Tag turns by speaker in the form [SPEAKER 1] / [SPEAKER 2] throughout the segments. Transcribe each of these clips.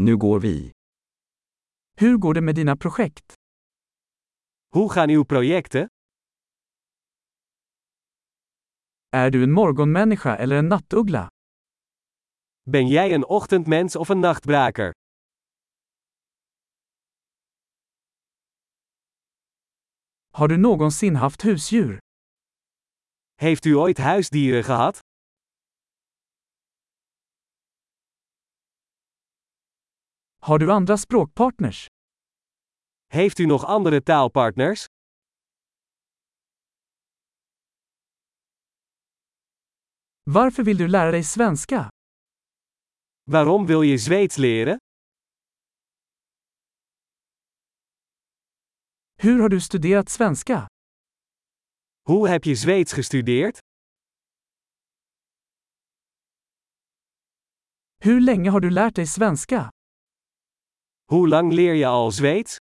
[SPEAKER 1] Nu går vi.
[SPEAKER 2] Hur går det med dina projekt?
[SPEAKER 3] Hoe gaan uw projecten?
[SPEAKER 2] Är du en morgonmänniska eller en nattuggla?
[SPEAKER 3] Ben jij een ochtendmens of een nachtbraker?
[SPEAKER 2] Har du någonsin haft husdjur?
[SPEAKER 3] Heeft u ooit huisdieren gehad?
[SPEAKER 2] Har du andra språkpartners?
[SPEAKER 3] Heeft u nog andere taalpartners?
[SPEAKER 2] Varför vill du lära dig svenska?
[SPEAKER 3] Waarom wil je Zweeds leren?
[SPEAKER 2] Hur har du studerat svenska?
[SPEAKER 3] Hoe heb je Zweeds gestudeerd?
[SPEAKER 2] Hur länge har du lärt dig svenska?
[SPEAKER 3] Hoe lang leer je al Zweeds?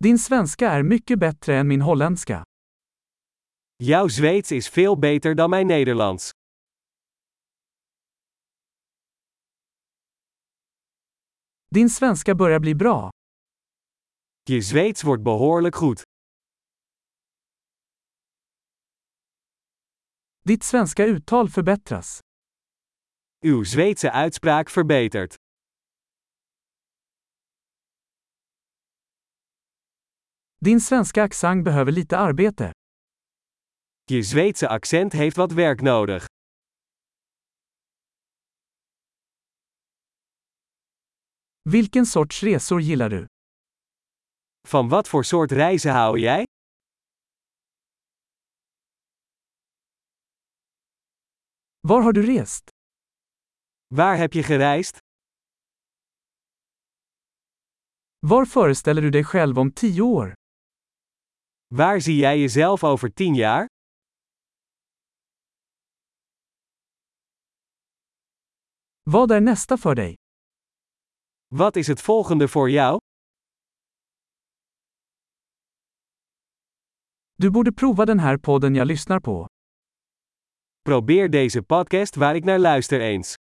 [SPEAKER 2] Din svenska är mycket bättre än min holländska.
[SPEAKER 3] Jouw Zweeds is veel beter dan mijn Nederlands.
[SPEAKER 2] Din svenska börjar bli bra.
[SPEAKER 3] Je Zweeds wordt behoorlijk goed.
[SPEAKER 2] Ditt svenska uttal förbättras.
[SPEAKER 3] Uw Zweedse uitspraak verbetert.
[SPEAKER 2] Din svenska accent behöver lite arbete.
[SPEAKER 3] Je Zweedse accent heeft wat werk nodig.
[SPEAKER 2] Vilken sorts resor gillar du?
[SPEAKER 3] Van wat voor soort reizen hou jij?
[SPEAKER 2] Var har du rest?
[SPEAKER 3] Waar heb je gereisd?
[SPEAKER 2] Var föreställer du dig själv om tio år?
[SPEAKER 3] Waar zie jij jezelf over 10 jaar?
[SPEAKER 2] Vad är nästa för dig?
[SPEAKER 3] Wat is het volgende voor jou?
[SPEAKER 2] Du borde prova den här podden jag lyssnar på.
[SPEAKER 3] Probeer deze podcast waar ik naar luister eens.